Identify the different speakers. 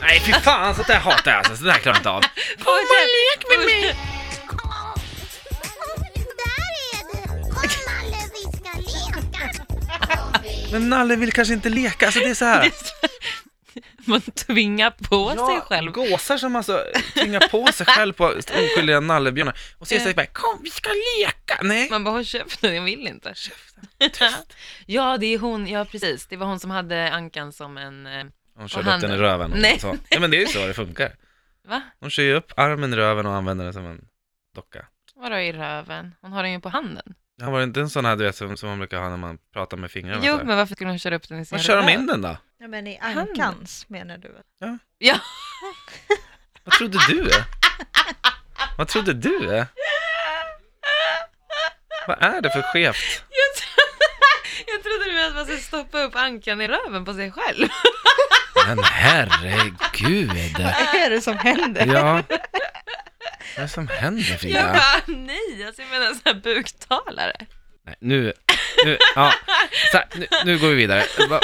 Speaker 1: Nej fy fan, sånt där hatar jag alltså. Sånt där klarar jag inte av.
Speaker 2: Kom och lek med mig!
Speaker 3: Där är du! Kom Nalle, vi ska leka!
Speaker 1: Men Nalle vill kanske inte leka, alltså det är så här.
Speaker 2: Man tvingar på sig själv.
Speaker 1: gåsar som alltså tvingar på sig själv på oskyldiga nallebjörnar. Och så är det så här, bara, kom vi ska leka! Nej.
Speaker 2: Man bara, håll käften, jag vill inte.
Speaker 1: Tyst.
Speaker 2: Ja, det är hon, ja precis. Det var hon som hade ankan som en... eh,
Speaker 1: Hon kör
Speaker 2: Och
Speaker 1: upp
Speaker 2: han-
Speaker 1: den i röven. Och
Speaker 2: Nej.
Speaker 1: Så. Nej men det är ju så det funkar.
Speaker 2: Va?
Speaker 1: Hon kör ju upp armen i röven och använder den som en docka.
Speaker 2: Vadå i röven? Hon har den ju på handen.
Speaker 1: Han var det inte en sån här du vet, som, som man brukar ha när man pratar med fingrarna?
Speaker 2: Jo,
Speaker 1: så här?
Speaker 2: men varför skulle hon köra upp den i sin
Speaker 1: Vad kör de
Speaker 2: röv?
Speaker 1: in den då?
Speaker 4: Ja, men i ankans menar du? väl?
Speaker 2: Ja,
Speaker 1: Vad trodde du? Vad trodde du? Vad är det för skevt?
Speaker 2: jag trodde, jag trodde du menade att man skulle stoppa upp ankan i röven på sig själv.
Speaker 1: Men herregud!
Speaker 4: Vad är det som händer?
Speaker 1: Ja. Vad är det som händer
Speaker 2: Jag
Speaker 1: Frida?
Speaker 2: bara, nej, alltså jag menar en sån här buktalare.
Speaker 1: Nej, nu, nu, ja. Så här, nu, nu går vi vidare. Va-